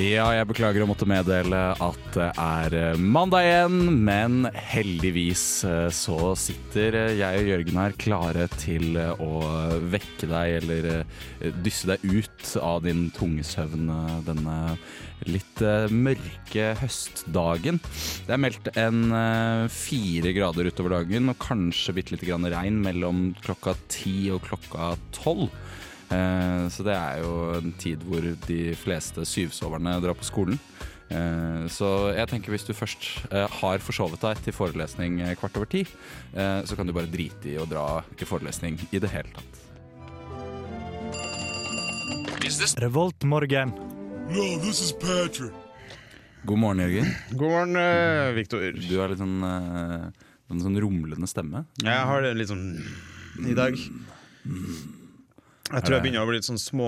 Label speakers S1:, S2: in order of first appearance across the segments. S1: Ja, jeg beklager å måtte meddele at det er eh, mandag igjen, men heldigvis eh, så sitter eh, jeg og Jørgen her klare til eh, å vekke deg eller eh, dysse deg ut av din tungesøvn eh, denne litt eh, mørke høstdagen. Det er meldt en eh, fire grader utover dagen og kanskje bitte lite grann regn mellom klokka ti og klokka tolv. Eh, Så det er jo en tid hvor de fleste syvsoverne drar på skolen. Eh, Så jeg tenker hvis du først eh, har forsovet deg til forelesning eh, kvart over ti, eh, så kan du bare drite i å dra i forelesning i det hele tatt.
S2: Revoltmorgen.
S3: No, this is Patrick.
S1: God morgen, Jørgen.
S4: God morgen, eh, Victor.
S1: Du har litt sånn, eh, en sånn rumlende stemme.
S4: Jeg har det litt sånn i dag. Jeg tror jeg begynner å bli litt sånn små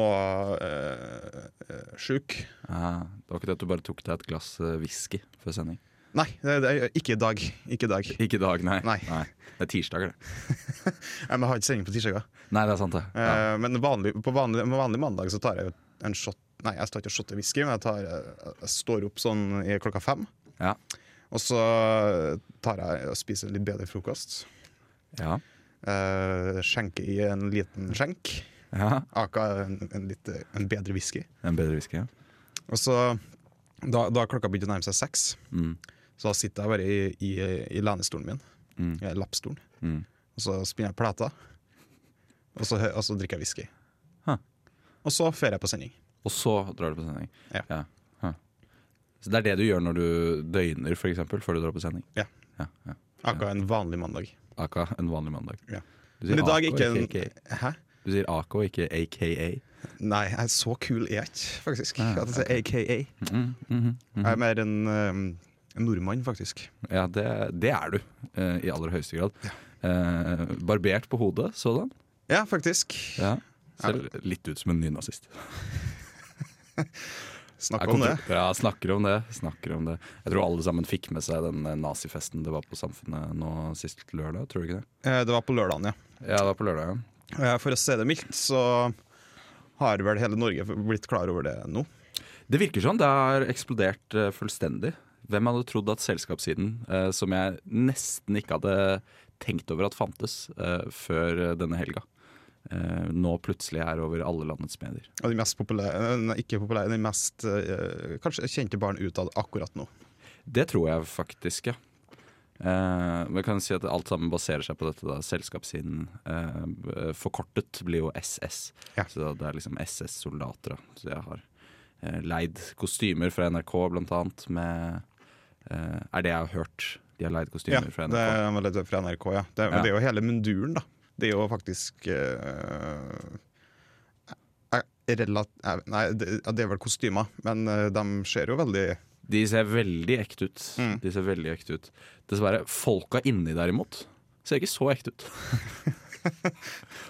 S4: eh, eh, sjuk.
S1: Ja, det var ikke det at du bare tok deg et glass eh, whisky før sending?
S4: Nei, det, det, er- ikke i dag. Ikke i dag. Jeg,
S1: Ikke i dag, nei.
S4: Nei.
S1: Det er tirsdager, det.
S4: men jeg har ikke sending på tirsdager.
S1: Nei, det er sant, det. Ja.
S4: Eh, Men vanlig, på vanlig, på vanlig mandag så tar jeg jo en shot Nei, jeg tar ikke en shot i whisky, men jeg, tar, eh, jeg står opp sånn i klokka fem.
S1: Ja.
S4: Og så tar jeg og spiser litt bedre frokost.
S1: Ja.
S4: Eh, skjenker i en liten skjenk.
S1: ja.
S4: Aka en, en, litt, en bedre whisky.
S1: En bedre whisky, ja.
S4: Og så, da, da klokka begynte å nærme seg seks,
S1: Mm.
S4: så da sitter jeg bare i, i, i lenestolen min,
S1: Mm.
S4: i lappstolen,
S1: Mm.
S4: og så spinner jeg plata, og så, hø- og så drikker jeg whisky.
S1: Huh.
S4: Og så fer jeg på sending.
S1: Og så drar du på sending?
S4: Ja.
S1: Huh. Så det er det du gjør når du døgner, for eksempel, før du drar på sending?
S4: Ja.
S1: ja, ja.
S4: Aka en vanlig mandag.
S1: Aka en vanlig mandag.
S4: Ja.
S1: Du sier
S4: Men i dag
S1: AK,
S4: ikke en
S1: ikke AK.
S4: Hæ?
S1: Du sier AK, ikke AKA.
S4: Nei, jeg er så kul er jeg ikke, faktisk.
S1: Ah,
S4: At jeg sier AKA.
S1: Mm, mhm, mhm.
S4: Jeg er mer en um, en nordmann, faktisk.
S1: Ja, det, det er du, eh, i aller høyeste grad. Eh, barbert på hodet, sådan.
S4: Ja, faktisk.
S1: Ja. Ser litt ut som en nynazist.
S4: Snakk
S1: Jeg
S4: om
S1: kom
S4: det.
S1: til- Ja, snakker om det. Snakker om det. Jeg tror alle sammen fikk med seg den eh, nazifesten det var på Samfunnet nå sist lørdag, tror du ikke det?
S4: Eh, Det var på lørdagen, ja.
S1: Ja, det var på lørdag, ja.
S4: Eh, For å si det mildt, så har vel hele Norge blitt klar over det nå.
S1: Det virker sånn. Det har eksplodert eh, fullstendig. Hvem hadde trodd at selskapssiden, eh, som jeg nesten ikke hadde tenkt over at fantes eh, før eh, denne helga, eh, nå plutselig er over alle landets medier?
S4: Og de mest populære, nei, ikke populære, de mest eh, kanskje kjente barn utad akkurat nå.
S1: Det tror jeg faktisk, ja. Eh, men jeg kan si at alt sammen baserer seg på dette da selskapssiden. Eh, forkortet blir jo SS,
S4: Ja.
S1: så det er liksom SS-soldater. da. Så jeg har eh, leid kostymer fra NRK, blant annet, med eh, Er det jeg har hørt. De har leid kostymer fra
S4: det
S1: NRK.
S4: var litt fra NRK, ja. Det,
S1: Ja.
S4: men det er jo hele munduren, da. Det er jo faktisk eh, er eh, relat, er- Nei, det, ja, det er vel kostymer, men eh, de ser jo veldig
S1: De ser veldig ekte ut.
S4: Mm.
S1: De ser veldig ekte ut. Dessverre, folka inni derimot ser ikke så ekte ut.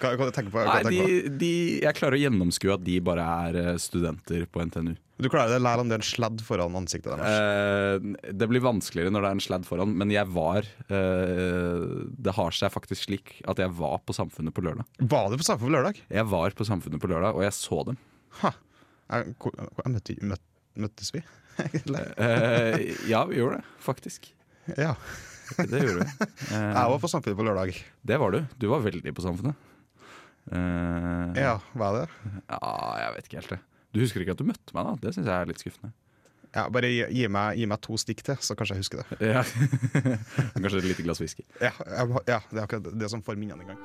S4: Hva, hva tenker du på? Hva
S1: Nei,
S4: tenker
S1: de,
S4: du
S1: de, jeg klarer å gjennomskue at de bare er eh, studenter på NTNU.
S4: på? Du klarer det, lærer om det er en sladd foran ansiktet deres.
S1: Eh, det blir vanskeligere når det er en sladd foran, men jeg var eh, Det har seg faktisk slik at jeg var på Samfunnet på lørdag.
S4: Var det på Samfunn på lørdag?
S1: Jeg var på Samfunnet på lørdag, og jeg så dem.
S4: Ha. Jeg, hvor- hvor- jeg møtte, møt, møttes vi? Eller?
S1: Eh, ja, vi gjorde det, faktisk.
S4: ja.
S1: Det gjorde vi. Eh,
S4: Jeg var på Samfunnet på lørdag.
S1: det var du. Du var veldig på Samfunnet. Eh,
S4: Ja, hva er det?
S1: ja, jeg vet ikke helt det. Du husker ikke at du møtte meg, da? Det syns jeg er litt skuffende.
S4: Ja, bare gi, gi, meg, gi meg to stikk til, så kanskje jeg husker det.
S1: Ja. Kanskje et lite glass whisky.
S4: Ja, jeg, ja Det er akkurat det som får minnene i gang.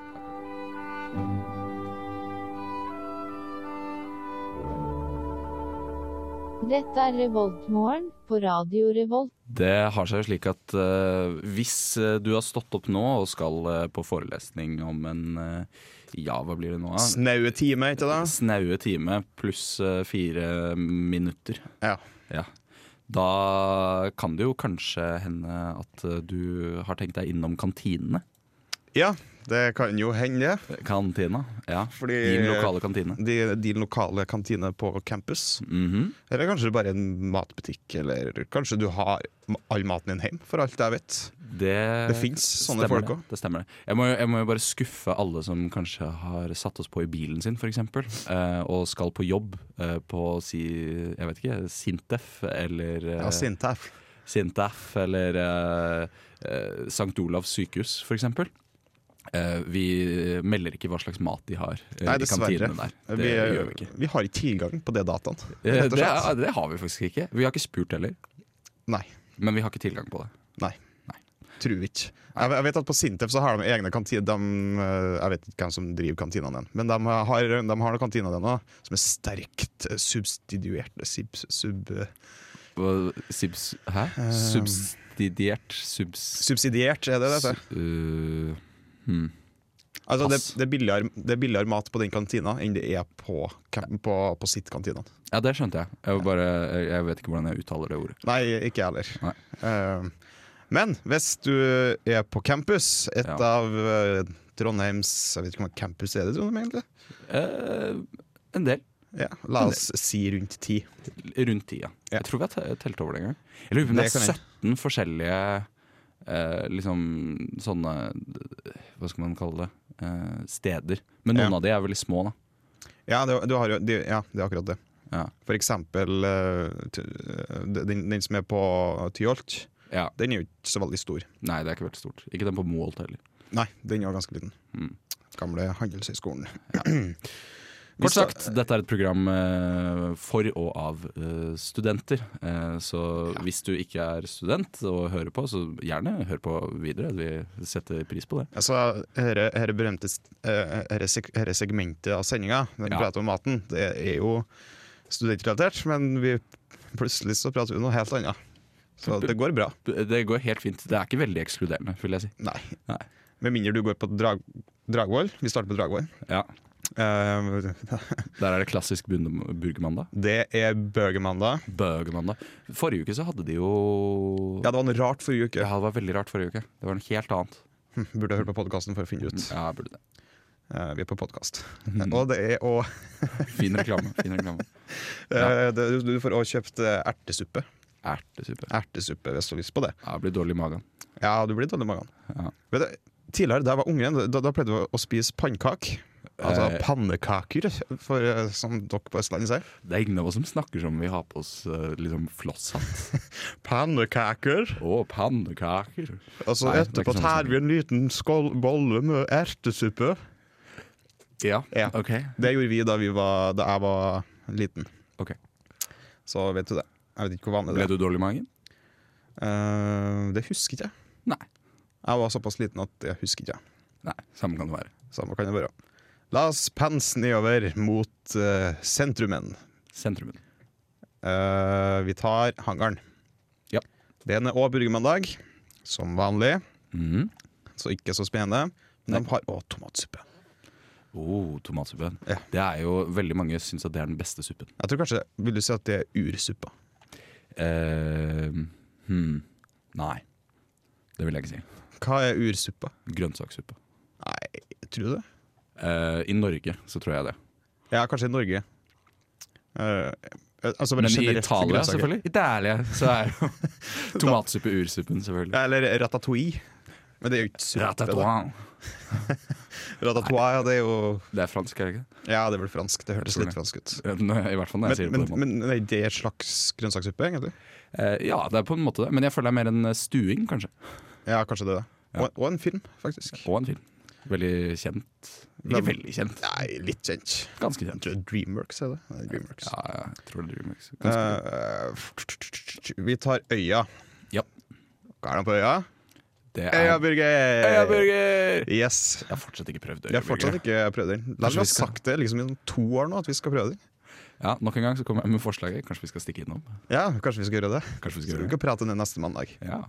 S5: Dette er Revoltmorgen på Radio Revolt.
S1: Det har seg jo slik at eh, hvis eh, du har stått opp nå og skal eh, på forelesning om en eh, Ja, hva blir det nå? da?
S4: Snaue time, ikke det?
S1: Snaue time pluss eh, fire minutter.
S4: Ja.
S1: Ja. Da kan det jo kanskje hende at eh, du har tenkt deg innom kantinene.
S4: Ja, det kan jo hende. det.
S1: Kantina. Ja.
S4: Fordi
S1: Din lokale kantine.
S4: de, de lokale kantine på campus.
S1: Mhm.
S4: Eller kanskje bare en matbutikk, eller kanskje du har ma- all maten din hjem, for alt jeg vet.
S1: Det,
S4: Det finnes sånne
S1: Eh, stemmer
S4: folk
S1: det.
S4: også.
S1: Det stemmer det. Jeg må, jo- jeg må jo bare skuffe alle som kanskje har satt oss på i bilen sin, f.eks. Eh, og skal på jobb eh, på si, jeg vet ikke, Sintef eller eh,
S4: Ja, Sintef.
S1: Sintef eller eh, eh, St. Olavs sykehus, f.eks. Eh, vi melder ikke hva slags mat de har eh,
S4: Nei,
S1: i
S4: dessverre.
S1: kantinene der. Det
S4: Vi,
S1: gjør vi ikke.
S4: vi har ikke tilgang på det dataen,
S1: Eh,
S4: rett
S1: det,
S4: og slett.
S1: det har vi faktisk ikke. Vi har ikke spurt heller,
S4: Nei.
S1: men vi har ikke tilgang på det.
S4: Nei. Tror ikke. Jeg, jeg vet at På Sintef så har de egne kantiner. De, eh, jeg vet ikke hvem som driver kantina den, men de har, de har noen kantiner den også, som er sterkt eh, substituert. Sub, sub,
S1: Hva- Subs, hæ?
S4: Ehm.
S1: Subsidiert subs...
S4: subsidiert, er det det? heter?
S1: Uh, hmm.
S4: Altså, det,
S1: Pass.
S4: det, er billigere, det er billigere mat på den kantina enn det er på, camp- på, på sitt kantina.
S1: Ja, det skjønte jeg. Jeg, var bare, jeg vet ikke hvordan jeg uttaler det ordet.
S4: Nei, ikke jeg heller.
S1: Nei.
S4: Eh, men hvis du er på campus, et
S1: Ja.
S4: av eh, Trondheims Jeg vet ikke hvor mange campus er det i Trondheim, egentlig?
S1: Eh, en del.
S4: Ja, la oss si rundt ti.
S1: Rundt tida. Jeg tror vi har te- telt over det en gang. Jeg lurer på om det
S4: Det kan
S1: er
S4: jeg.
S1: 17 forskjellige eh, liksom sånne Hva skal man kalle det? Eh, steder. Men noen
S4: Ja.
S1: av de er veldig små, da.
S4: Ja, det, du har, jo- de, ja, det er akkurat det.
S1: Ja.
S4: For eksempel eh, t- eh, den, den som er på Tyholt,
S1: ja.
S4: den er jo ikke så veldig stor.
S1: Nei, det er ikke veldig stort. Ikke den på Moholt heller.
S4: Nei, den er jo ganske liten.
S1: Mm.
S4: Gamle Handelshøyskolen.
S1: Kort sagt, dette er et program eh, for og av eh, studenter. Eh, så hvis du ikke er student og hører på, så gjerne hør på videre. Vi setter pris på det.
S4: Altså, her, her berømte eh, her, seg- her segmentet av sendinga, den
S1: Ja.
S4: prater om maten, det er jo studentrelatert, men vi, plutselig så prater vi om noe helt annet. Så det går bra.
S1: eh, Det går helt fint. Det er ikke veldig ekskluderende, vil jeg si.
S4: Nei.
S1: Nei.
S4: Med mindre du går på drag, Dragvoll. Vi starter på Dragvoll.
S1: Ja,
S4: Eh,
S1: Der er det klassisk bunde- burgermandag.
S4: det er bøgemandag.
S1: Burgermandag. Forrige uke så hadde de jo
S4: Ja, det var noe rart forrige uke. Hm,
S1: Ja, det var veldig rart forrige uke. Det var noe helt annet.
S4: Burde hørt på podkasten for å finne ut.
S1: Mm. Ja, Mm. burde det.
S4: Eh, vi er på podkast. Og det er òg
S1: Fin reklame. fin reklame
S4: eh, det- Du får òg kjøpt eh, ertesuppe.
S1: Ertesuppe.
S4: Ertesuppe hvis du har lyst på det.
S1: Ja, det blir dårlig i magen.
S4: Ja, du blir dårlig i magen.
S1: Ja.
S4: Vet du, tidligere, da jeg var unge, da, da pleide vi å spise pannkak. Altså
S1: Eh.
S4: pannekaker, for, eh, som dere på Østlandet sier.
S1: Det er ingen av oss som snakker som vi har på oss eh, liksom flosshatt.
S4: Pannekaker.
S1: Å, pannekaker.
S4: Og så
S1: Nei, det er
S4: etterpå
S1: ikke sånn
S4: tar
S1: som-
S4: vi en liten skål bolle med ertesuppe.
S1: Ja,
S4: Ja.
S1: ok.
S4: Det gjorde vi da, vi var, da jeg var liten.
S1: Ok.
S4: Så vet du det. Jeg vet ikke hvor vanlig det
S1: Ble du
S4: er.
S1: dårlig i magen?
S4: Eh, det husker ikke jeg.
S1: Nei.
S4: Jeg var såpass liten at jeg husker ikke.
S1: Nei, Samme kan det være.
S4: Samme kan det være. La oss pense nedover mot eh, sentrumen.
S1: Sentrumen.
S4: Eh, vi tar hangaren.
S1: Ja.
S4: Den er òg burgermandag, som vanlig. Mhm.
S1: Mm.
S4: Så ikke så spennende. Men de har òg tomatsuppe.
S1: Oh, tomatsuppen.
S4: Ja.
S1: Det er jo veldig mange syns at det er den beste suppen.
S4: Jeg tror kanskje Vil du si at det er ursuppa?
S1: Eh, hmm. Nei. Det vil jeg ikke si.
S4: Hva er ursuppa?
S1: Grønnsakssuppe.
S4: Nei, tror du det?
S1: Eh, I Norge så tror jeg det.
S4: Ja, kanskje i Norge. Eh, altså bare
S1: Men i
S4: generelt for
S1: Italia,
S4: grønnsaker.
S1: selvfølgelig. Italia så er jo tomatsuppe ursuppen, selvfølgelig.
S4: Ja, Eller ratatouille. Men det er jo ikke suppe. da.
S1: Ratatouille.
S4: Ratatouille, ja, det er jo
S1: Det er fransk, er det ikke?
S4: Ja, det er vel fransk. Det hørtes
S1: tror
S4: litt
S1: det.
S4: fransk ut.
S1: Eh, nå- I hvert fall når jeg
S4: Men,
S1: sier det på
S4: men,
S1: den måten.
S4: men er det et slags grønnsakssuppe, egentlig?
S1: Eh, ja, det er på en måte det. Men jeg føler det er mer en eh, stuing, kanskje.
S4: Ja, kanskje det. er det.
S1: Ja.
S4: Og, og en film, faktisk.
S1: Og en film. Veldig kjent. Ikke
S4: Hvem-
S1: veldig kjent,
S4: Nei, litt kjent.
S1: ganske
S4: Jeg
S1: kjent.
S4: tror det er Dreamworks er det. Nei, Dreamworks.
S1: Ja, jeg tror det er Dreamworks.
S4: Eh,
S1: Ganske kjent.
S4: vi tar Øya.
S1: Ja.
S4: Hva er det på Øya?
S1: Det er
S4: Øyaburger!
S1: Øyaburger!
S4: Yes.
S1: Jeg har fortsatt ikke prøvd
S4: Vi har fortsatt
S1: øyeburger.
S4: ikke prøvd den. La
S1: Kanskje vi
S4: oss ha
S1: skal-
S4: sagt det liksom i sånn to år nå, at vi skal prøve den.
S1: Ja, nok en gang så kommer jeg med forslaget. Kanskje vi skal stikke innom?
S4: Ja, kanskje vi skal gjøre det.
S1: Kanskje vi
S4: Så
S1: skal
S4: vi
S1: gjøre det?
S4: kan prate ned neste mandag.
S1: Ja.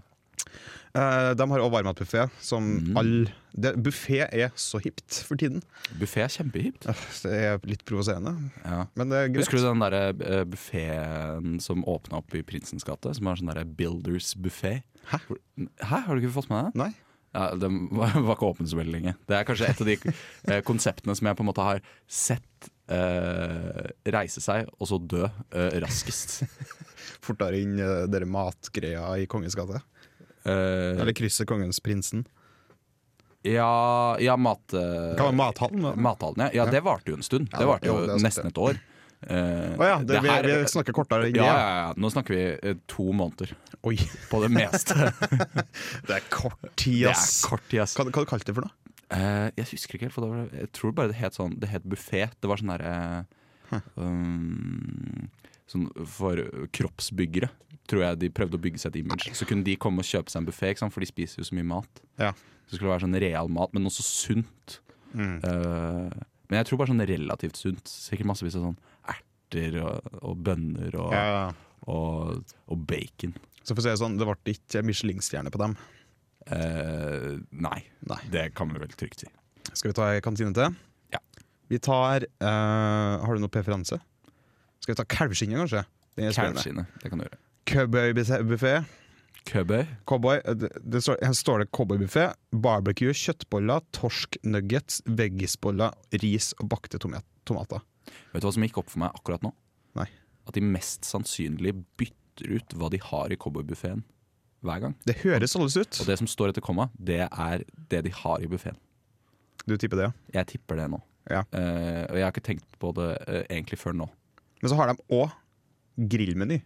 S4: Eh, de har òg varmmatbuffé, som
S1: Mm.
S4: all Buffé er så hipt for tiden.
S1: Buffé er kjempehipt.
S4: Øh, Det er litt provoserende,
S1: Ja.
S4: men det er greit.
S1: Husker du den der buffeen som åpna opp i Prinsens gate? Som var sånn der Builders buffé?
S4: Hæ?
S1: Hæ, har du ikke fått med deg det?
S4: Nei.
S1: Ja, den var var ikke åpen så veldig lenge. Det er kanskje et av de eh, konseptene som jeg på en måte har sett eh, reise seg, og så dø eh, raskest.
S4: Fortere inn uh, dere matgreia i Kongens gate.
S1: Eh,
S4: Eller krysset Kongens prinsen.
S1: ja, ja, mat...
S4: Det
S1: eh,
S4: kan være mathallen. da.
S1: Mathallen, ja. ja. Det varte jo en stund.
S4: Ja,
S1: Det varte
S4: jo, det
S1: jo
S4: er sant,
S1: nesten et år. Eh,
S4: Å ja, det,
S1: det her-
S4: vi, vi snakker kortere enn
S1: ja,
S4: det.
S1: ja, ja. Nå snakker vi eh, to måneder
S4: Oi,
S1: på det meste.
S4: det er kort tid,
S1: Det er
S4: ass.
S1: kort tid, ass.
S4: Hva, hva du kalte du det for noe?
S1: Eh, jeg husker ikke helt, for det var, jeg tror bare det het sånn Det het buffé. Det var sånn derre um, Sånn for kroppsbyggere, tror jeg de prøvde å bygge seg et image. Så kunne de komme og kjøpe seg en buffé, for de spiser jo så mye mat.
S4: Ja.
S1: Så skulle det være sånn real mat, men også sunt.
S4: Mm.
S1: Eh, men jeg tror bare sånn relativt sunt. Sikkert massevis av sånn erter og, og bønner og,
S4: Ja, ja.
S1: og, og bacon.
S4: Så for å si det sånn, det ble ikke Michelin-stjerne på dem.
S1: Eh, nei,
S4: Nei.
S1: det kan vi vel trygt si.
S4: Skal vi ta ei kantine til?
S1: Ja.
S4: Vi tar eh, Har du noe preferanse? Skal vi ta kalvskinnet, kanskje? Den er spennende.
S1: Kalvskinnet, det kan du gjøre.
S4: Cowboybuffé.
S1: Købøy.
S4: Cowboy, eh, det, det står, her står det cowboybuffé. Barbecue, kjøttboller, torsk, nuggets, veggisboller, ris og bakte tomat- tomater.
S1: Vet du hva som gikk opp for meg akkurat nå?
S4: Nei.
S1: At de mest sannsynlig bytter ut hva de har i cowboybuffeen hver gang.
S4: Det høres alles ut.
S1: Og det som står etter komma, det er det de har i buffeen.
S4: Du tipper det, ja.
S1: Jeg tipper det nå.
S4: Ja.
S1: Eh, og jeg har ikke tenkt på det eh, egentlig før nå.
S4: Men så har de òg grillmeny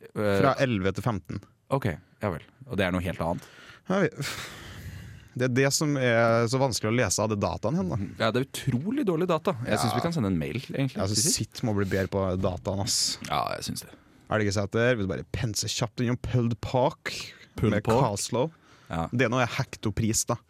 S1: Eh,
S4: fra 11 til 15.
S1: ok, ja vel. Og det er noe helt annet.
S4: Ja, vi- Det er det som er så vanskelig å lese av det dataen hen, da.
S1: Ja, det er utrolig dårlig data. Jeg syns vi kan sende en mail, egentlig.
S4: Jeg synes sitt må bli bedre på dataen, ass.
S1: ja, jeg synes det.
S4: Elgeseter, vil du bare pense kjapt innom Pulled Park
S1: Pulled
S4: med
S1: Park?
S4: Caslow.
S1: Ja. Mm.
S4: Det nå er hektopris, da.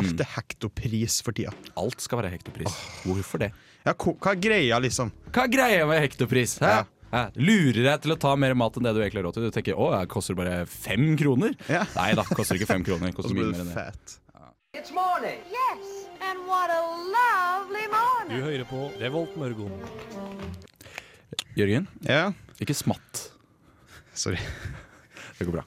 S4: Alt er hektopris for tida.
S1: Alt skal være hektopris. Hvorfor det?
S4: Ja, ko- hva er greia, liksom?
S1: Hva er greia med hektopris? Hæ?
S4: Ja.
S1: Hæ? Lurer jeg til å ta mer mat enn det du egentlig har råd til? Du tenker å, det koster bare fem kroner?
S4: Ja.
S1: Nei da, koster ikke fem kroner. det
S4: Og så
S1: Koster mye mer
S4: blir du
S1: enn det.
S4: fett.
S6: It's morning.
S7: Yes, and what a lovely morning.
S8: Du hører på Revolt Mørgon.
S1: Jørgen,
S4: Ja,
S1: ikke smatt.
S4: sorry.
S1: Det går bra.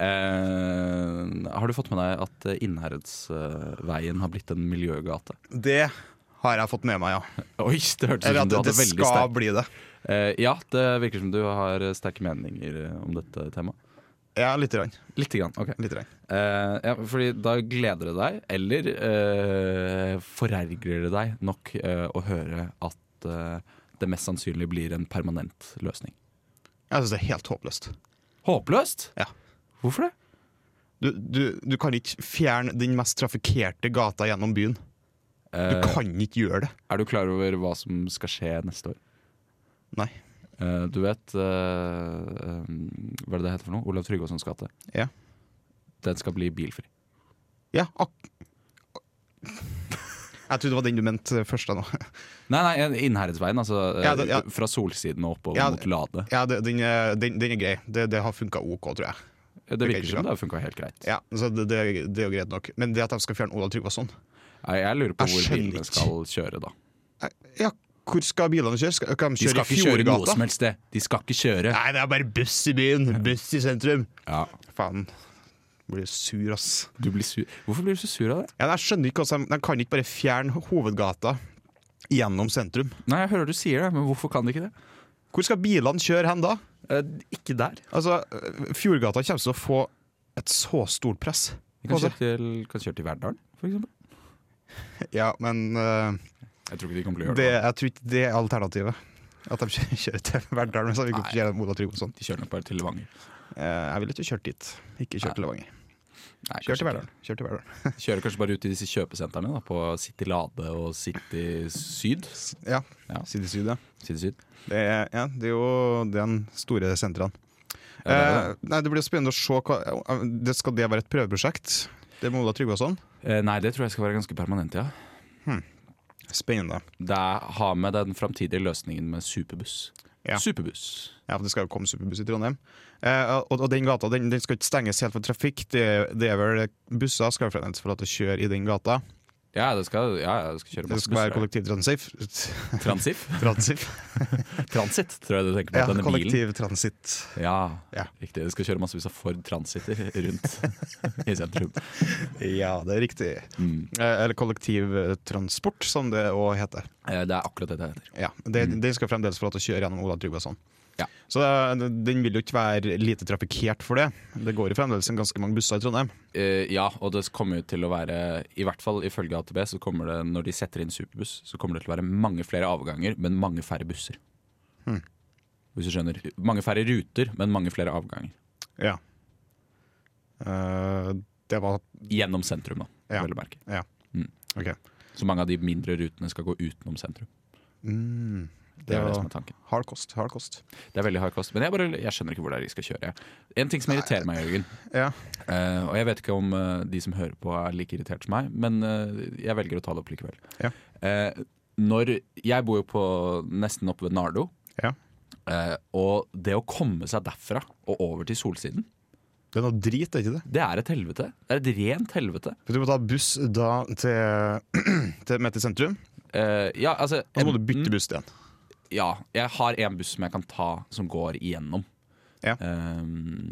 S1: Eh, har du fått med deg at eh, Innherredsveien har blitt en miljøgate?
S4: Det har jeg fått med meg, ja.
S1: Oi, det hørtes ut
S4: Eller
S1: som
S4: at
S1: du
S4: det,
S1: hadde veldig
S4: skal
S1: sterk
S4: bli det.
S1: Eh, Ja, det virker som du har eh, sterke meninger eh, om dette temaet.
S4: Ja, lite grann.
S1: Lite grann. ok
S4: Lite grann.
S1: Eh, ja, fordi da gleder det deg, eller eh, forerger det deg nok eh, å høre at eh, det mest sannsynlig blir en permanent løsning.
S4: Jeg syns det er helt håpløst.
S1: Håpløst?
S4: Ja.
S1: Hvorfor det?
S4: Du, du, du kan ikke fjerne den mest trafikkerte gata gjennom byen. Du
S1: Eh,
S4: kan ikke gjøre det.
S1: er du klar over hva som skal skje neste år?
S4: Nei.
S1: Eh, du vet eh, eh, Hva er det det heter for noe? Olav Tryggvasons gate.
S4: Ja.
S1: Den skal bli bilfri.
S4: Ja, ak... Jeg trodde det var den du mente først. da nå.
S1: Nei, nei, Innherredsveien. Altså, eh,
S4: Ja, det- ja.
S1: Fra Solsiden og oppover
S4: Ja,
S1: mot Lade.
S4: Ja, det- den, er- den, den er grei. Det, det har funka OK, tror jeg.
S1: Det
S4: virker
S1: virker som
S4: bra.
S1: det har funka helt greit.
S4: Ja, så det, det, det er jo greit nok. Men det at de skal fjerne Olav Tryggvason
S1: Jeg, jeg lurer på
S4: Jeg
S1: hvor
S4: skjønner
S1: bilene
S4: ikke.
S1: skal kjøre, da.
S4: Eh, Ja, hvor skal bilene kjøre? Skal, skal de
S1: De
S4: kjøre
S1: skal
S4: i
S1: ikke kjøre noe
S4: Fjordgata?
S1: som helst sted. De skal ikke kjøre.
S4: Nei, det er bare buss i byen. Buss i sentrum.
S1: Ja.
S4: Faen. Blir sur, ass.
S1: Du blir sur. Hvorfor blir du så sur av det?
S4: Ja, jeg skjønner ikke hvordan de, de kan ikke bare fjerne hovedgata gjennom sentrum.
S1: Nei, Jeg hører du sier det, men hvorfor kan de ikke det?
S4: Hvor skal bilene kjøre hen da?
S1: Eh, ikke der.
S4: Altså, Fjordgata kommer til å få et så stort press.
S1: De kan
S4: Altså.
S1: kjøre til, kan kjøre til Verdal, for eksempel.
S4: Ja, men eh,
S1: Jeg tror ikke de kommer til å gjøre
S4: det,
S1: det.
S4: jeg tror ikke det er alternativet. At de kjø- kjører til Verdal mens de ikke
S1: Nei.
S4: kjører Olav Tryggvason.
S1: De kjører nok bare til Levanger.
S4: Eh, Jeg ville ikke kjørt dit. Ikke kjørt til Levanger.
S1: Nei,
S4: Kjør til
S1: kanskje ikke.
S4: Verdal. Kjør til Verdal.
S1: De Kjører kanskje bare ut i disse kjøpesentrene, da, på City Lade og City Syd.
S4: Ja.
S1: Ja.
S4: Side syd, ja.
S1: City Syd.
S4: Det er, ja, det er jo den store sentrene.
S1: Ja, det er
S4: Eh, nei, det blir spennende å se hva, det, Skal det være et prøveprosjekt? Det med Ola Tryggvason?
S1: Eh, nei, det tror jeg skal være ganske permanent, ja.
S4: Spennende.
S1: Det er- har med den framtidige løsningen med superbuss.
S4: Ja.
S1: Superbuss.
S4: Ja, for Det skal jo komme superbuss i Trondheim. Eh, og, og den gata den, den skal ikke stenges helt for trafikk. Det, det er vel Busser skal fremdeles få lov til å kjøre i den gata.
S1: Ja, det skal, ja, ja, det skal kjøre
S4: Det
S1: masse
S4: skal være
S1: busser.
S4: kollektivtransif.
S1: Transif?
S4: Transif.
S1: Transit, tror jeg du tenker på.
S4: Ja,
S1: denne bilen.
S4: kollektivtransit.
S1: Ja,
S4: Ja.
S1: riktig. Det skal kjøre masse buss av Ford Transiter rundt i sentrum.
S4: Ja, det er riktig.
S1: Mm.
S4: Eh, Eller kollektivtransport, som det òg heter.
S1: Eh, Det er akkurat det det heter.
S4: Ja, det, Den skal fremdeles få lov til å kjøre gjennom Ola Tryggvason.
S1: Mm. Ja.
S4: Så eh, den vil jo ikke være lite trafikkert for det. Det går jo fremdeles en ganske mange busser i Trondheim.
S1: Eh, ja, og det kommer jo til å være I hvert fall ifølge AtB, så kommer det når de setter inn superbuss, så kommer det til å være mange flere avganger, men mange færre busser.
S4: Hmm.
S1: Hvis du skjønner. Mange færre ruter, men mange flere avganger.
S4: Ja. Eh, det var
S1: Gjennom sentrum, da.
S4: Ja.
S1: Vel å merke.
S4: OK.
S1: Så mange av de mindre rutene skal gå utenom sentrum.
S4: Mm,
S1: Det er
S4: var
S1: det som er tanken.
S4: Hard kost. Hard kost.
S1: Det er veldig hard kost. Men jeg, bare, jeg skjønner ikke hvor det er de skal kjøre. jeg. En ting som irriterer meg, Jørgen,
S4: Ja.
S1: eh, og jeg vet ikke om eh, de som hører på er like irritert som meg, men eh, jeg velger å ta det opp likevel.
S4: Ja.
S1: Eh, når, jeg bor jo på, nesten oppe ved Nardo,
S4: Ja.
S1: eh, og det å komme seg derfra og over til solsiden,
S4: Det er noe drit, er ikke det?
S1: det er et helvete. Det er et rent helvete.
S4: For Du må ta buss da til, til Mette sentrum,
S1: Eh, ja, altså,
S4: og så må du
S1: enten-
S4: bytte buss igjen.
S1: Ja, jeg har en buss som jeg kan ta som går igjennom.
S4: Ja.
S1: Eh,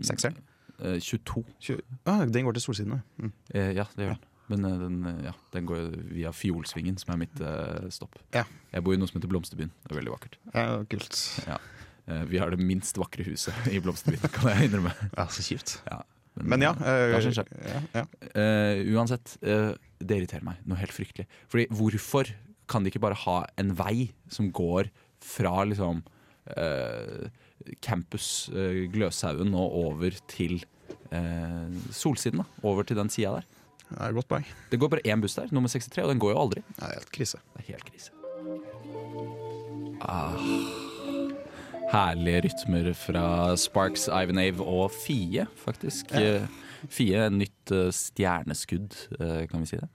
S4: Sekseren?
S1: eh, 22.
S4: Tjue- Ah, den går til solsidene. Mm.
S1: Eh, ja, det gjør den. Men eh, den, eh, ja, den går jo via Fjolsvingen, som er mitt eh, stopp.
S4: Ja.
S1: Jeg bor i noe som heter Blomsterbyen. Det er veldig vakkert.
S4: Ja, kult.
S1: Eh, vi har det minst vakre huset i Blomsterbyen, kan jeg innrømme.
S4: Ja, så kjipt.
S1: Ja,
S4: Men ja, eh,
S1: det har sin sjarm.
S4: ja, ja.
S1: eh, uansett, eh, det irriterer meg noe helt fryktelig. Fordi hvorfor kan de ikke bare ha en vei som går fra liksom eh, campus eh, Gløshaugen og over til eh, Solsiden? da Over til den sida der.
S4: Det er et godt poeng.
S1: Det går bare én buss der, nummer 63, og den går jo aldri.
S4: Ja, det er helt krise.
S1: Det er helt krise. Ah, herlige rytmer fra Sparks, Ivanave og Fie, faktisk. Eh, Fie, nytt eh, stjerneskudd, eh, kan vi si det?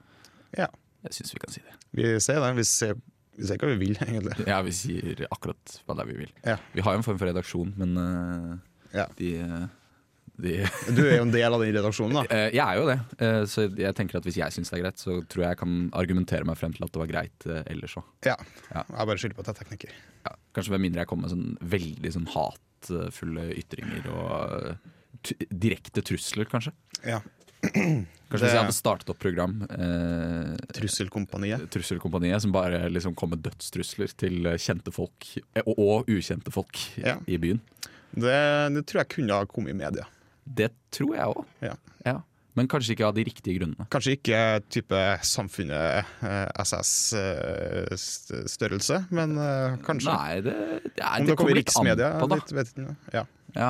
S4: Ja.
S1: Jeg syns vi kan si det.
S4: Vi ser det. Vi ser, vi ser hva vi vil, egentlig.
S1: Ja, vi sier akkurat hva det er vi vil.
S4: Ja.
S1: Vi har jo en form for redaksjon, men eh,
S4: Ja.
S1: de, eh, de
S4: Du er jo en del av den redaksjonen, da.
S1: Eh, Jeg er jo det, eh, så jeg tenker at hvis jeg syns det er greit, så tror jeg jeg kan argumentere meg frem til at det var greit eh, ellers òg.
S4: Ja.
S1: Ja.
S4: Jeg bare skylder på at jeg er tekniker.
S1: ja, Kanskje med mindre jeg kommer med sånn veldig sånn hatfulle ytringer og eh, tu- direkte trusler, kanskje.
S4: Ja.
S1: Kanskje
S4: Det-
S1: hvis jeg hadde startet opp program, eh,
S4: Trusselkompaniet.
S1: Trusselkompaniet, som bare liksom kom med dødstrusler til eh, kjente folk, eh, og, og ukjente folk
S4: Ja.
S1: i byen.
S4: Det, det tror jeg kunne ha kommet i media.
S1: Det tror jeg òg.
S4: Ja.
S1: Men kanskje ikke av de riktige grunnene.
S4: Kanskje ikke type samfunnet eh, SS-størrelse, eh, men eh, kanskje.
S1: Nei, det, det, er-
S4: Om
S1: det
S4: det kommer
S1: kommer
S4: i
S1: litt an
S4: riksmedia,
S1: på, da.
S4: litt, vet ikke. Ja.
S1: Ja,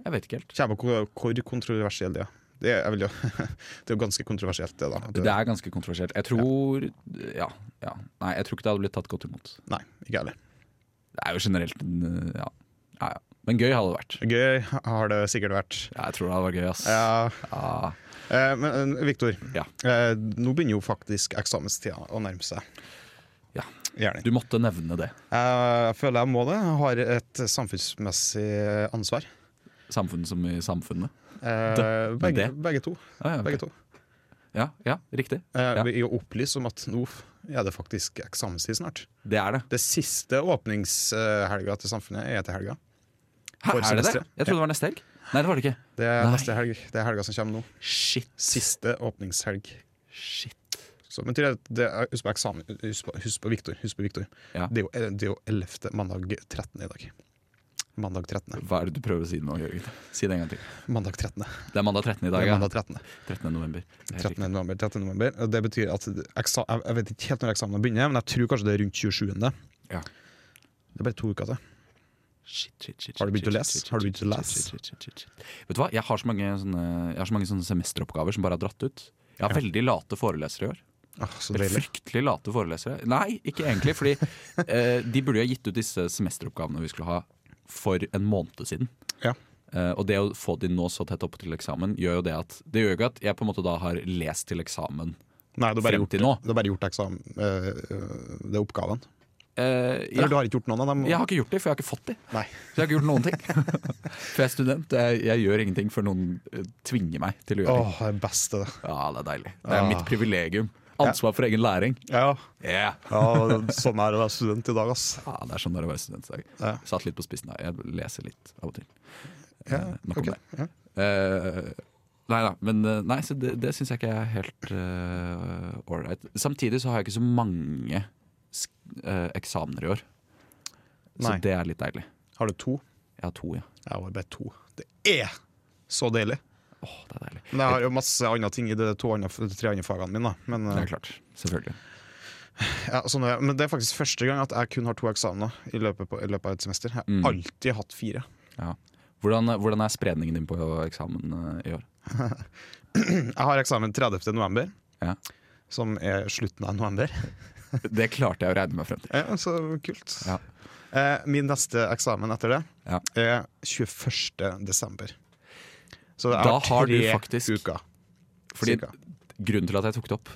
S1: jeg vet ikke helt.
S4: Kommer på hvor- hvor kontroversiell det er. Det er, vel jo, det er jo ganske kontroversielt, det, da. At
S1: Det er ganske kontroversielt. Jeg tror ja, ja. Nei, jeg tror ikke det hadde blitt tatt godt imot.
S4: Nei, ikke heller.
S1: Det er jo generelt en, øh, ja. Ja, ja. Men gøy hadde det vært.
S4: Gøy har det sikkert vært.
S1: Ja, jeg tror det hadde vært gøy, ass.
S4: Ja,
S1: Ah,
S4: eh, men eh, Viktor,
S1: Ja.
S4: eh, nå begynner jo faktisk eksamenstida å nærme seg.
S1: Ja.
S4: Gjerne.
S1: du måtte nevne det.
S4: Eh, Jeg føler jeg må det. Jeg har et samfunnsmessig ansvar.
S1: Samfunnet som i samfunnet.
S4: Eh,
S1: Det-
S4: begge,
S1: det.
S4: begge to.
S1: Ah, ja, ok.
S4: Begge to.
S1: ja, ja, riktig.
S4: Eh,
S1: Ja.
S4: I å opplyse om at nå er det faktisk eksamenstid snart.
S1: Det er det.
S4: Det siste åpningshelga til samfunnet er til helga.
S1: Hæ,
S4: For
S1: er det det?
S4: semesteret.
S1: Jeg trodde det var neste helg. Nei, det var det ikke.
S4: Det er
S1: Nei.
S4: neste helg. Det er helga som kommer nå.
S1: Shit.
S4: Siste åpningshelg.
S1: Shit.
S4: Så men til det, det er, husk på eksamen Husk på, husk på Viktor. Husk på Victor.
S1: Ja.
S4: Det er jo- eh, det er jo 11. mandag 13. i dag. Mandag 13.
S1: Hva er det du prøver å si nå, Jørgen? Si det en gang til.
S4: Mandag 13.
S1: Det er mandag 13. i dag,
S4: Det er
S1: ja.
S4: mandag 13.
S1: 13. november. Det er helt
S4: 13. november, 13. november. Og Det betyr at eksa, jeg- Jeg vet ikke helt når eksamen begynner, men jeg tror kanskje det er rundt 27.
S1: Ja.
S4: Det er bare to uker til.
S1: Shit, shit, shit,
S4: Har du
S1: shit,
S4: begynt å
S1: shit,
S4: lese?
S1: shit,
S4: Har du
S1: shit,
S4: begynt å
S1: shit,
S4: lese?
S1: shit, shit, shit, shit. Vet du hva, jeg har så mange, sånne, jeg har så mange sånne semesteroppgaver som bare har dratt ut. Jeg har veldig late forelesere i år.
S4: Åh, så
S1: Eller
S4: deilig.
S1: Fryktelig late forelesere. Nei, ikke egentlig. Fordi eh, de burde jo ha gitt ut disse semesteroppgavene vi skulle ha for en måned siden.
S4: Ja.
S1: Eh, og det å få de nå så tett opp til eksamen, gjør jo det at Det gjør jo ikke at jeg på en måte da har lest til eksamen
S4: Nei, du har bare
S1: frem
S4: gjort,
S1: til nå.
S4: du har bare gjort eksamen, eh, eh, det er oppgaven.
S1: Eh,
S4: Eller du
S1: ja.
S4: har ikke gjort noen av dem?
S1: Jeg har ikke gjort det, for jeg har ikke fått de.
S4: Nei.
S1: Så jeg har ikke gjort noen ting. For jeg er student. Jeg, jeg gjør ingenting før noen eh, tvinger meg til å gjøre ting.
S4: Åh, det beste.
S1: Ja, det er deilig. Det er mitt privilegium. Ansvar for egen læring.
S4: Ja,
S1: Yeah.
S4: ja sånn er det å være student i dag, ass.
S1: Ja, det er sånn det er å være student i dag.
S4: Ja.
S1: Satt litt på spissen der. Jeg leser litt av og til.
S4: Ja,
S1: Eh, nok om
S4: ok,
S1: det. Eh, nei da, men eh, nei, så det, det syns jeg ikke er helt eh, ålreit. Samtidig så har jeg ikke så mange sk- eh, eksamener i år. Så
S4: Nei.
S1: det er litt deilig.
S4: Har du to?
S1: Jeg har to, ja.
S4: Jeg har bare to. Det er så deilig!
S1: Åh, det er deilig.
S4: Men jeg har jo masse andre ting i de to andre, de tre andre fagene mine. da. Men,
S1: Det
S4: eh,
S1: er klart. Selvfølgelig.
S4: ja, sånn er, men det er faktisk første gang at jeg kun har to eksamener i løpet, på, i løpet av et semester. Jeg
S1: Mm.
S4: har alltid hatt fire.
S1: Ja. Hvordan, eh, hvordan er spredningen din på eksamen eh, i år?
S4: Jeg har eksamen 30. november,
S1: Ja.
S4: som er slutten av november.
S1: Det klarte jeg å regne meg frem til.
S4: Ja, så kult.
S1: Ja.
S4: Eh, min neste eksamen etter det
S1: Ja.
S4: er 21. desember. Så jeg
S1: Da har
S4: tre
S1: du faktisk-
S4: uker.
S1: Fordi
S4: Cirka.
S1: Grunnen til at jeg tok det opp,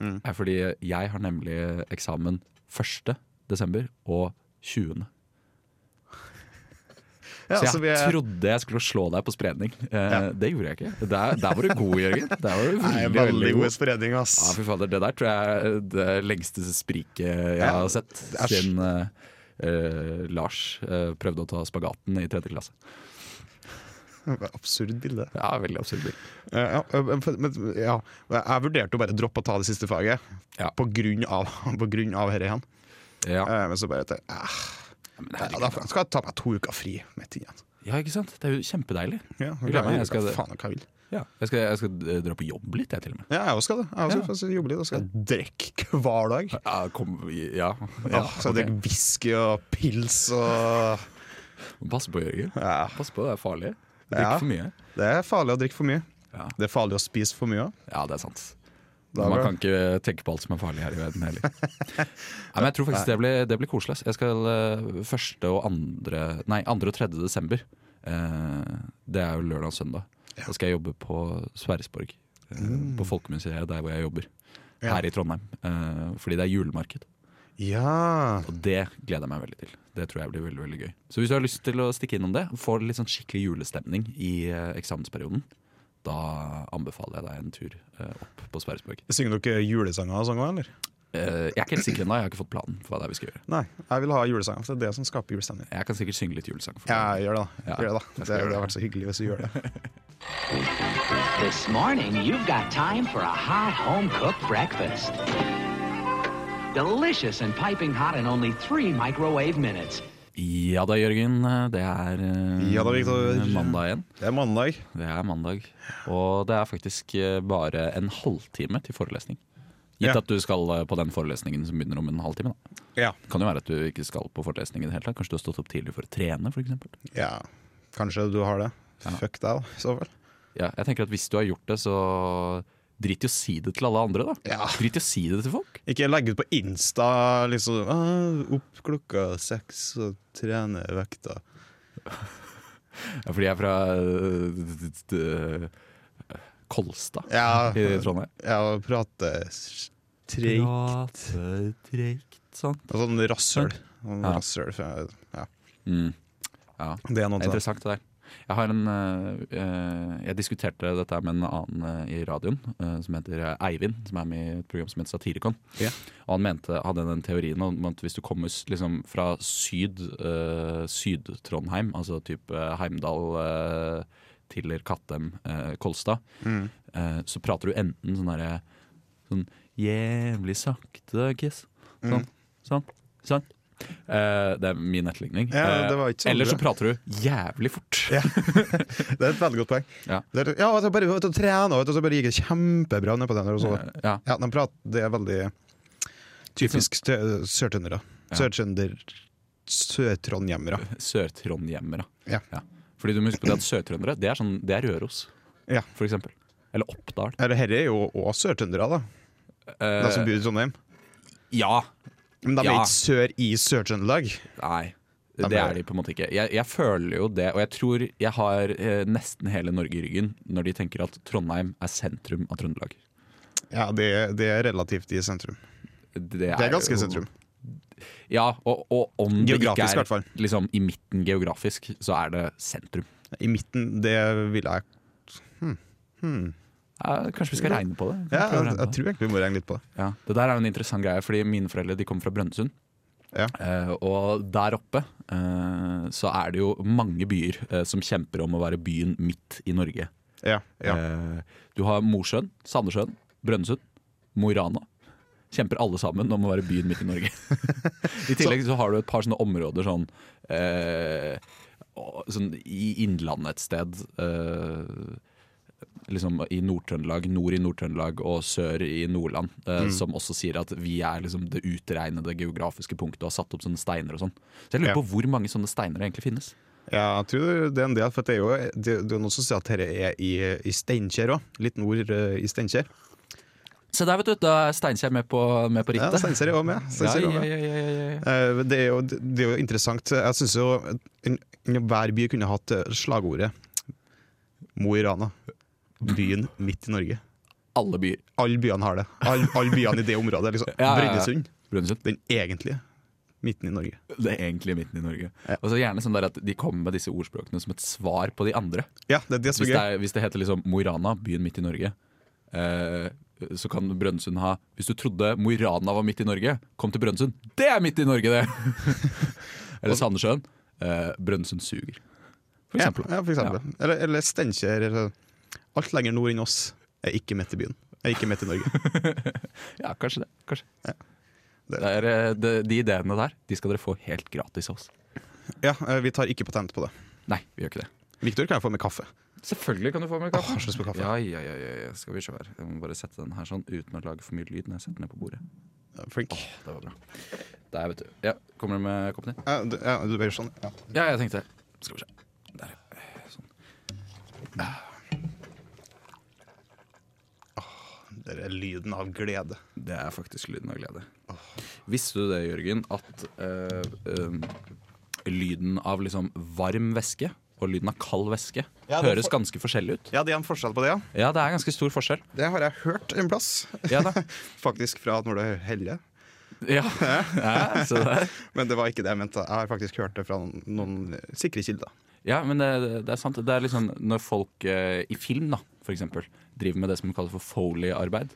S4: Mm.
S1: er fordi jeg har nemlig eksamen 1. desember og 20.
S4: Ja,
S1: så jeg
S4: så vi er,
S1: trodde jeg skulle slå deg på spredning. Eh,
S4: Ja.
S1: Det gjorde jeg ikke. Der, der var du god, Jørgen. Der var du
S4: jeg
S1: veldig,
S4: er
S1: veldig,
S4: veldig god i
S1: god.
S4: spredning, ass.
S1: Ja, fy fader, Det der tror jeg er det lengste spriket jeg
S4: Ja,
S1: har sett
S4: er-
S1: siden eh, eh, Lars eh, prøvde å ta spagaten i tredje klasse.
S4: Absurd bilde.
S1: Ja, veldig absurd. bild.
S4: Eh, Ja, eh, men, ja. Jeg vurderte å bare droppe å ta det siste faget
S1: Ja.
S4: på grunn av, på grunn av dette igjen.
S1: Ja.
S4: Eh, Men så bare tenkte jeg, eh,
S1: Men
S4: ja,
S1: herregud.
S4: da skal jeg ta meg to uker fri midt i igjen.
S1: ja, ikke sant? Det er jo kjempedeilig.
S4: Ja,
S1: Jeg
S4: jeg,
S1: glemmer, jeg skal-
S4: skal faen hva jeg vil.
S1: Ja. Jeg, skal, jeg skal eh, dra på jobb litt, jeg, til og med.
S4: Ja, jeg også skal det. Jeg også
S1: Ja.
S4: faktisk jobbe litt. Jeg skal drikke hver dag.
S1: Ja, kom, ja,
S4: Ja,
S1: ja
S4: så jeg
S1: ok.
S4: drikker whisky og pils og
S1: Pass på, Jørgen.
S4: ja,
S1: Pass på, det er farlig. Drikk
S4: Ja.
S1: for mye.
S4: Det er farlig å drikke for mye.
S1: Ja.
S4: Det er farlig å spise for mye òg.
S1: Ja, det er sant.
S4: Da
S1: Man
S4: bra.
S1: kan ikke tenke på alt som er farlig her i verden heller. Nei, men jeg tror faktisk det blir, det blir koselig. ass. Jeg skal eh, første og andre Nei, andre og tredje desember. Eh, det er jo lørdag og søndag. Da skal jeg jobbe på Sverresborg. eh, På Folkemuseet, der hvor jeg jobber.
S4: Mm. Ja.
S1: Her i Trondheim. eh, fordi det er julemarked.
S4: Ja.
S1: Og det gleder jeg meg veldig til. Det tror jeg blir veldig veldig gøy. Så hvis du har lyst til å stikke innom det, få litt sånn skikkelig julestemning i eh, eksamensperioden, da anbefaler jeg deg en tur eh, opp på Sverresborg.
S4: Synger dere julesanger og sånn òg, eller?
S1: Eh, jeg er ikke helt sikker ennå, jeg har ikke fått planen for hva det er vi skal gjøre.
S4: Nei, jeg vil ha julesanger, for det er det som skaper julestemning.
S1: Jeg kan sikkert synge litt julesang. For
S4: Ja,
S1: deg.
S4: gjør det, da.
S1: Ja,
S4: Gjør det, da.
S1: jeg
S4: Det,
S1: skal gjøre
S4: det
S1: det.
S4: har vært så hyggelig hvis du gjør det.
S6: This morning, you've got time for a hot home cooked breakfast. Delicious and piping hot in only three microwave minutes.
S1: ja da, Jørgen. Det er eh,
S4: Ja da, Victor.
S1: mandag igjen.
S4: Det er mandag.
S1: Det er mandag. Og det er faktisk eh, bare en halvtime til forelesning. Gitt
S4: Ja.
S1: at du skal eh, på den forelesningen som begynner om en halvtime. da
S4: Ja.
S1: Det kan jo være at du ikke skal på forelesningen i det hele tatt. Kanskje du har stått opp tidlig for å trene, f.eks.
S4: ja. Kanskje du har det. Fuck deg, da, i så fall.
S1: Ja, jeg tenker at hvis du har gjort det, så drit i å si det til alle andre, da.
S4: Ja.
S1: Drit i å si det til folk.
S4: Ikke legg ut på Insta liksom «Ah, Opp klokka seks og trene vekta.
S1: Ja, fordi jeg er fra øh, øh, øh, Kolstad
S4: Ja,
S1: i Trondheim.
S4: ja og prate s- treigt.
S1: Prate treigt, sånn.
S4: Og Sånn rasshøl. Sånn
S1: Ja.
S4: rasshøl, for- Ja.
S1: Mm. Ja.
S4: Det er noe
S1: Det er
S4: til det.
S1: interessant det der. Jeg, har en, øh, øh, jeg diskuterte dette med en annen øh, i radioen, øh, som heter Eivind. Som er med i et program som heter Satirikon.
S4: Ja.
S1: Og han mente, hadde den teorien om at hvis du kommer s- liksom, fra syd, øh, Syd-Trondheim, altså type Heimdal, øh, Tiller, Kattem, øh, Kolstad,
S4: Mm.
S1: eh, så prater du enten sånn derre Sånn jævlig sakte kiss.
S4: Mm.
S1: Sånn. Sånn. sånn. Eh, det er min etterligning.
S4: Ja, det var
S1: Eh,
S4: ikke så
S1: Eller så
S4: bra.
S1: prater du jævlig fort.
S4: Det er et veldig godt poeng.
S1: Ja.
S4: Det er, ja, og så bare vet du, trene, vet du, så bare gikk det kjempebra nedpå den. der, Og så.
S1: Eh, Ja.
S4: Ja, de prater, det er veldig typisk stø- sørtrøndere.
S1: Ja.
S4: Sørtrønder... Sør-trondhjemmere.
S1: Sør-trondhjemmere.
S4: Ja.
S1: Fordi du må huske på det at sørtrøndere, det er, sånn, det er Røros,
S4: Ja.
S1: for eksempel. Eller Oppdal. Eh,
S4: Eller Dette er jo òg sørtrøndere, da. De som bor i Trondheim.
S1: Ja.
S4: Men de er
S1: ja.
S4: ikke sør i Sør-Trøndelag.
S1: Nei.
S4: men
S1: Det
S4: det-
S1: er de på en måte ikke. Jeg, jeg føler jo det, og jeg tror jeg har eh, nesten hele Norge i ryggen når de tenker at Trondheim er sentrum av Trøndelag.
S4: Ja, det, det er relativt i sentrum.
S1: Det
S4: Det er ganske
S1: jo-
S4: i sentrum.
S1: Ja, og, og om
S4: Geografisk, i
S1: det
S4: hvert
S1: ikke
S4: fall.
S1: er liksom, i midten geografisk, så er det sentrum.
S4: I midten, det vil jeg hmm. Hmm.
S1: Ja, kanskje vi skal regne på det? Kan
S4: Ja,
S1: vi prøve å regne på det?
S4: jeg, jeg tror egentlig vi må regne litt på det.
S1: Ja, Det der er jo en interessant greie, fordi mine foreldre de kommer fra Brønnøysund.
S4: Ja.
S1: Eh, og der oppe eh, så er det jo mange byer eh, som kjemper om å være byen midt i Norge.
S4: Ja, ja.
S1: Eh, du har Mosjøen, Sandnessjøen, Brønnøysund, Mo i Rana. Kjemper alle sammen om å være byen midt i Norge. I tillegg så har du et par sånne områder sånn, eh, å- sånn i Innlandet et sted. Eh, liksom i Nord-Trøndelag, nord i Nord-Trøndelag og sør i Nordland, eh,
S4: Mm.
S1: som også sier at vi er liksom det utregnede geografiske punktet og har satt opp sånne steiner og sånn. Så jeg lurer
S4: Ja.
S1: på hvor mange sånne steiner det egentlig finnes.
S4: ja, jeg tror det er en del, for det er jo det, det er noen som sier at dette er i, i Steinkjer òg. Litt nord eh, i Steinkjer.
S1: Se der, vet du! Da er Steinkjer med på, med på
S4: Ja,
S1: rittet.
S4: Steinkjer er òg med.
S1: Ja,
S4: Steinkjer er også
S1: ja,
S4: med.
S1: ja, ja, ja, ja.
S4: Eh, Det er, jo, det er jo interessant. Jeg syns jo en- en- hver by kunne hatt eh, slagordet Mo i Rana. Byen midt i Norge.
S1: Alle byer.
S4: Alle byene har det. Alle alle byene i det området. Liksom.
S1: Ja, ja, ja.
S4: Brønnøysund.
S1: Brønnøysund.
S4: Den egentlige midten i Norge.
S1: Det er egentlig midten i Norge.
S4: Ja.
S1: Og så gjerne sånn der at de kommer med disse ordspråkene som et svar på de andre.
S4: Ja, det er det som
S1: Hvis
S4: er
S1: det,
S4: gøy.
S1: er, hvis det heter liksom Mo i Rana, byen midt i Norge, eh, så kan Brønnøysund ha Hvis du trodde Mo i Rana var midt i Norge, kom til Brønnøysund. Det er midt i Norge, det! Eller Sandnessjøen. Eh, Brønnøysund suger. For
S4: Ja,
S1: eksempel.
S4: ja, for eksempel. Eller, eller Steinkjer. eller Alt lenger nord enn oss er ikke midt i byen. Er ikke midt i Norge.
S1: Ja, kanskje det. Kanskje.
S4: Det-
S1: Det er, eh, de, de ideene der De skal dere få helt gratis av oss.
S4: Ja, eh, Vi tar ikke patent på det.
S1: Nei, vi gjør ikke det.
S4: Victor, kan jeg få med kaffe?
S1: Selvfølgelig kan du få med kaffe.
S4: Åh, jeg har så lyst på kaffe.
S1: Ja, ja, ja, ja, ja. Skal vi se her. Jeg må bare sette den her sånn uten å lage for mye lyd når jeg setter den ned på bordet.
S4: Flink.
S1: Det var bra. Der, vet du. Ja, Kommer du med koppen din?
S4: Ja, du, ja, du blir sånn. Ja.
S1: Ja, jeg tenkte Skal vi se. Der, ja. Sånn.
S4: Det er lyden av glede.
S1: Det er faktisk lyden av glede. Visste du det, Jørgen, at eh, eh, lyden av liksom varm væske og lyden av kald væske
S4: Ja, det er
S1: høres
S4: for-
S1: ganske forskjellig ut?
S4: Ja, det er en forskjell på det, ja.
S1: Ja, det er ganske stor forskjell.
S4: Det har jeg hørt en plass.
S1: Ja da.
S4: Faktisk fra når du heller.
S1: Ja. Ja, så det er.
S4: Men det var ikke det jeg mente. Jeg har faktisk hørt det fra noen, noen sikre kilder.
S1: ja, men det, det er sant. Det er liksom når folk eh, i film, da, for eksempel, driver med det som kalles for foley-arbeid.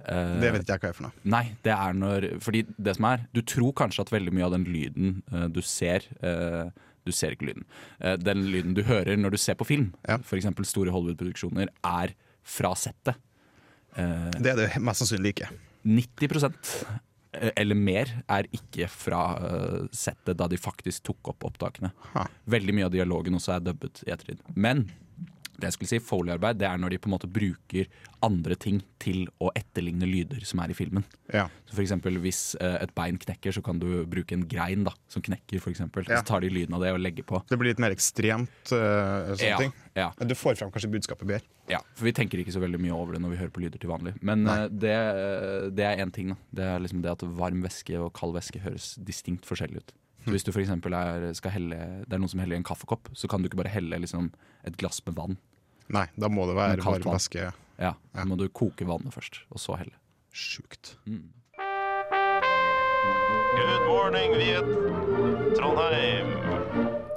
S1: eh,
S4: Det vet ikke jeg hva er for noe.
S1: Nei, det er når Fordi det som er, du tror kanskje at veldig mye av den lyden eh, du ser eh, Du ser ikke lyden. Eh, den lyden du hører når du ser på film,
S4: Ja.
S1: for f.eks. store Hollywood-produksjoner, er fra settet.
S4: Det er det jo mest sannsynlig ikke.
S1: 90 eh, eller mer er ikke fra eh, settet da de faktisk tok opp opptakene.
S4: Ha.
S1: Veldig mye av dialogen også er dubbet i ettertid. Men det jeg skulle si, foley-arbeid det er når de på en måte bruker andre ting til å etterligne lyder som er i filmen.
S4: Ja.
S1: Så for eksempel hvis eh, et bein knekker, så kan du bruke en grein da, som knekker, for eksempel.
S4: Ja.
S1: Så tar de lyden av det og legger på.
S4: Det blir litt mer ekstremt. eh, sånne
S1: Ja,
S4: ting.
S1: ja.
S4: Men Du får fram kanskje budskapet bedre.
S1: Ja, for vi tenker ikke så veldig mye over det når vi hører på lyder til vanlig. Men eh, det, eh, det er én ting, da. Det er liksom det at varm væske og kald væske høres distinkt forskjellig ut.
S4: Hm.
S1: Så hvis du for eksempel er, skal helle, det er noen som heller i en kaffekopp, så kan du ikke bare helle liksom, et glass med vann.
S4: Nei, da må det
S1: Men
S4: være
S1: kaldt
S4: varm
S1: vann.
S4: væske.
S1: Ja, Da må du koke vannet først, og så helle.
S4: Sjukt.
S1: Mm.
S8: Good morning, Viet. Trondheim.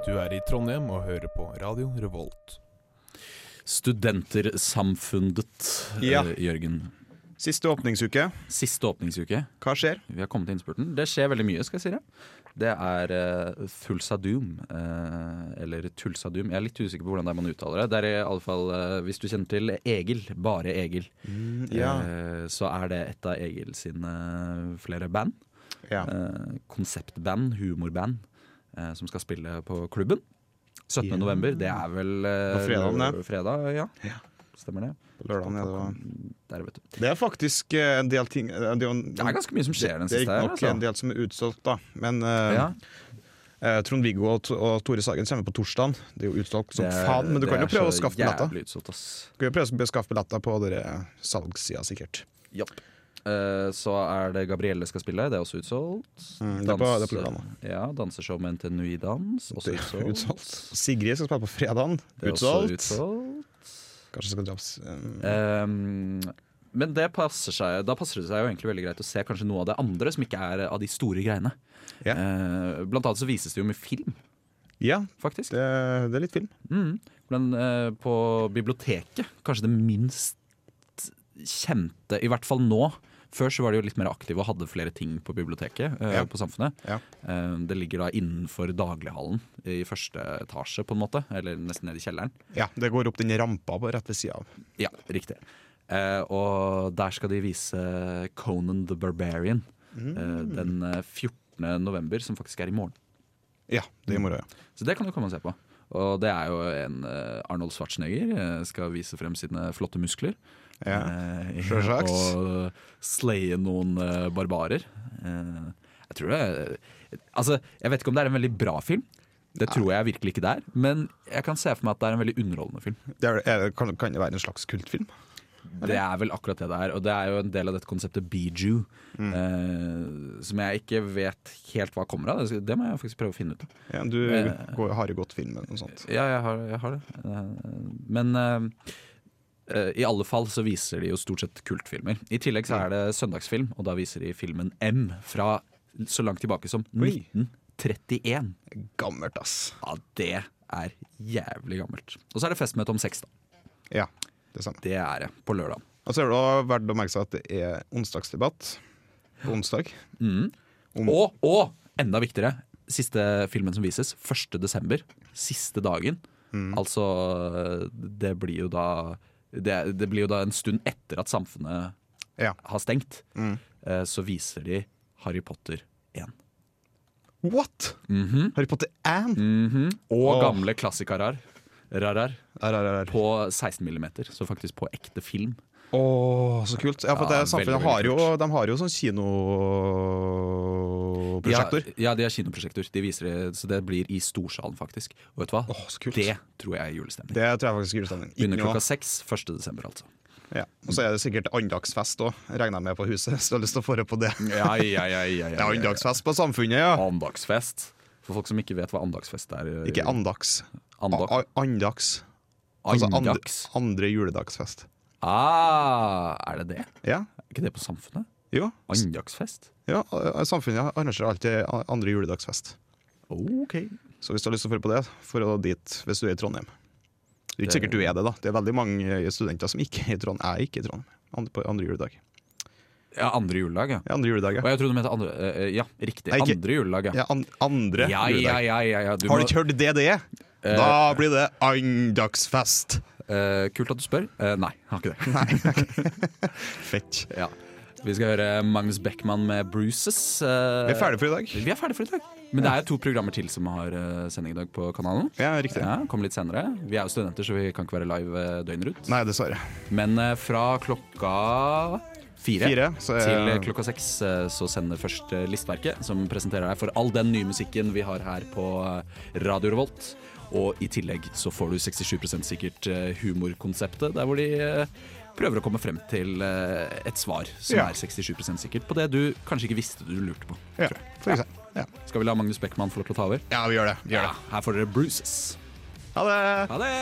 S9: Du er i Trondheim og hører på Radio Revolt.
S1: Studentersamfundet,
S4: Ja.
S1: eh, Jørgen.
S4: Siste åpningsuke.
S1: Siste åpningsuke.
S4: Hva skjer?
S1: Vi har kommet til innspurten. Det skjer veldig mye, skal jeg si det. Det er uh, Thulsadum, eh, eller Tulsadum. Jeg er litt usikker på hvordan det er man uttaler det. Det er i alle fall, eh, hvis du kjenner til Egil, bare Egil, eh, så er det et av Egil sine eh, flere band.
S4: Ja.
S1: Eh, konseptband, humorband, eh, som skal spille på klubben. 17.
S4: Ja.
S1: november, det er vel eh,
S4: På fredagen, det.
S1: fredag, ja. Stemmer det.
S4: På lørdagen, ja, det var-
S1: Der, vet du.
S4: Det er faktisk eh, en del ting eh, Det er, jo en-
S1: Det er ganske mye som skjer den
S4: Det er
S1: siste
S4: ikke
S1: her.
S4: nok en
S1: Altså.
S4: del som er utsolgt, da. Men eh,
S1: Ja.
S4: eh, Trond-Viggo og, T- og Tore Sagen kommer på torsdag. Det er jo utsolgt som
S1: Det er-
S4: faen, men du
S1: det
S4: kan
S1: er
S4: jo prøve å
S1: så
S4: skaffe billetter.
S1: Jævlig utsolgt, ass.
S4: Du kan jo prøve å skaffe billetter på dere salgssida, sikkert.
S1: Eh, så er det Gabrielle skal spille, det er også utsolgt.
S4: Mm, det er på- det er på
S1: Danse-
S4: lørdag
S1: Ja, Danseshow med NTNU i dans, også
S4: Det er
S1: utsolgt.
S4: utsolgt. Sigrid skal spille på fredagen.
S1: Det er også
S4: Utsolgt.
S1: utsolgt.
S4: Kanskje skal draps... eh,
S1: Ehm, men det passer seg, da passer det seg jo egentlig veldig greit å se kanskje noe av det andre som ikke er av de store greiene.
S4: Ja.
S1: Eh, blant annet så vises det jo med film,
S4: ja,
S1: faktisk.
S4: det, det er litt film.
S1: Mm. Men eh, på biblioteket, kanskje det minst kjente, i hvert fall nå Før så var de jo litt mer aktive og hadde flere ting på biblioteket. eh,
S4: Ja.
S1: på samfunnet
S4: Ja.
S1: Eh, Det ligger da innenfor daglighallen i første etasje, på en måte. Eller nesten ned i kjelleren.
S4: Ja, det går opp den rampa på rett ved sida av.
S1: Ja, riktig. Eh, og der skal de vise Conan the Barbarian eh, den eh, 14. november, som faktisk er i morgen.
S4: Ja, det er i morgen, ja.
S1: Så det kan du komme og se på. Og det er jo en eh, Arnold Schwarzenegger eh, skal vise frem sine flotte muskler.
S4: Ja,
S1: eh,
S4: selvsagt.
S1: Og slaye noen eh, barbarer. Eh, jeg tror det er- Altså, jeg vet ikke om det er en veldig bra film. Det tror jeg virkelig ikke det er. Men jeg kan se for meg at det er en veldig underholdende film.
S4: Det er, er, det- kan, kan det være en slags kultfilm?
S1: Det er vel akkurat det det er, og det er jo en del av dette konseptet Biju. Mm. Eh, som jeg ikke vet helt hva kommer av. Det, det må jeg faktisk prøve å finne ut av.
S4: Ja, du
S1: Eh.
S4: går, har jo gått film eller noe sånt.
S1: Ja, jeg har, jeg har det. Eh, men eh, eh, i alle fall så viser de jo stort sett kultfilmer. I tillegg så er det søndagsfilm, og da viser de filmen M fra så langt tilbake som 1931.
S4: Gammelt, ass.
S1: Ja, det er jævlig gammelt. Og så er det festmøte om seks, da.
S4: Ja, det samme.
S1: Det er det, på lørdag.
S4: Og så er det også verdt å merke seg at det er onsdagsdebatt på onsdag. Om-
S1: Og, og enda viktigere, siste filmen som vises, 1. desember. Siste dagen.
S4: Mm.
S1: Altså, det blir jo da det, det blir jo da en stund etter at samfunnet
S4: Ja. Mm.
S1: har stengt. eh, Så viser de Harry Potter 1.
S4: What?!
S1: Mhm.
S4: Harry Potter and
S1: Mm. Og
S4: Åh.
S1: gamle klassikarer. Rarar
S4: Rar, rar, rar.
S1: på 16 millimeter, så faktisk på ekte film.
S4: Åh, så kult. Ja, for
S1: Ja,
S4: det,
S1: veldig,
S4: samfunnet
S1: veldig
S4: har jo,
S1: kult.
S4: de har jo sånn kinoprosjektor.
S1: Ja, ja, de har kinoprosjektor. De viser det, så det blir i storsalen, faktisk. Og vet du hva?
S4: Åh, så kult.
S1: Det tror jeg er julestemning.
S4: Det tror jeg faktisk er julestemning. Ikke
S1: Begynner
S4: noe.
S1: klokka seks 1. desember, altså.
S4: Ja. Og så er det sikkert andagsfest òg, regner jeg med på huset. Så jeg har lyst til å få det på det.
S1: Ja, ja, ja, ja,
S4: Det er andagsfest på Samfunnet, ja.
S1: Andagsfest. For folk som ikke vet hva andagsfest er. eh,
S4: Ikke andags.
S1: Andag-
S4: A- a- Andags. Altså and-
S1: Andags.
S4: andre juledagsfest.
S1: Ah, er det det?
S4: Ja.
S1: Er ikke det på Samfunnet?
S4: Jo.
S1: Andagsfest?
S4: Ja, a- samfunnet arrangerer alltid a- andre juledagsfest.
S1: Ok.
S4: Så hvis du har lyst til å følge på det, dra dit hvis du er i Trondheim. Det er ikke sikkert du er det, da. Det er veldig mange eh, studenter som ikke er i Trondheim. Er ikke i Trondheim andre, på andre juledag.
S1: Ja, andre juledag, ja.
S4: Ja, andre juledag,
S1: Og
S4: ja.
S1: jeg trodde du mente andre eh, Ja, riktig.
S4: Nei, ikke-
S1: Andre juledag, ja.
S4: ja an andre
S1: Ja, ja, ja.
S4: juledag.
S1: ja, ja. Du
S4: Har du
S1: må-
S4: ikke hørt det det er? Da blir det andagsfest!
S1: eh, kult at du spør. Eh, nei, jeg har ikke det.
S4: Fett.
S1: Ja. Vi skal høre Magnus Beckmann med 'Bruises'. eh,
S4: Vi er ferdige for i dag.
S1: Vi er ferdige for i dag. Men det er jo to programmer til som har eh, sending i dag på kanalen.
S4: Ja, riktig.
S1: Ja, kommer litt senere. Vi er jo studenter, så vi kan ikke være live eh, døgnet rundt.
S4: Nei, dessverre.
S1: Men eh, fra klokka fire,
S4: Fire, så er-
S1: til eh, klokka seks eh, så sender først eh, Listverket, som presenterer deg for all den nye musikken vi har her på eh, Radio Revolt. Og i tillegg så får du 67 sikkert eh, humorkonseptet, der hvor de eh, prøver å komme frem til eh, et svar som
S4: Ja.
S1: er 67 sikkert på det du kanskje ikke visste du lurte på.
S4: Ja,
S1: tror jeg.
S4: for eksempel. Ja.
S1: Skal vi la Magnus Beckmann få lov til å ta over?
S4: ja, vi gjør det. Vi gjør det.
S1: Her får dere Bruises.
S4: Ha det!
S1: Ha det!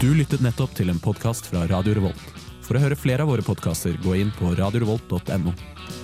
S1: Du lyttet nettopp til en podkast fra Radio Revolt. For å høre flere av våre podkaster, gå inn på radiorevolt.no.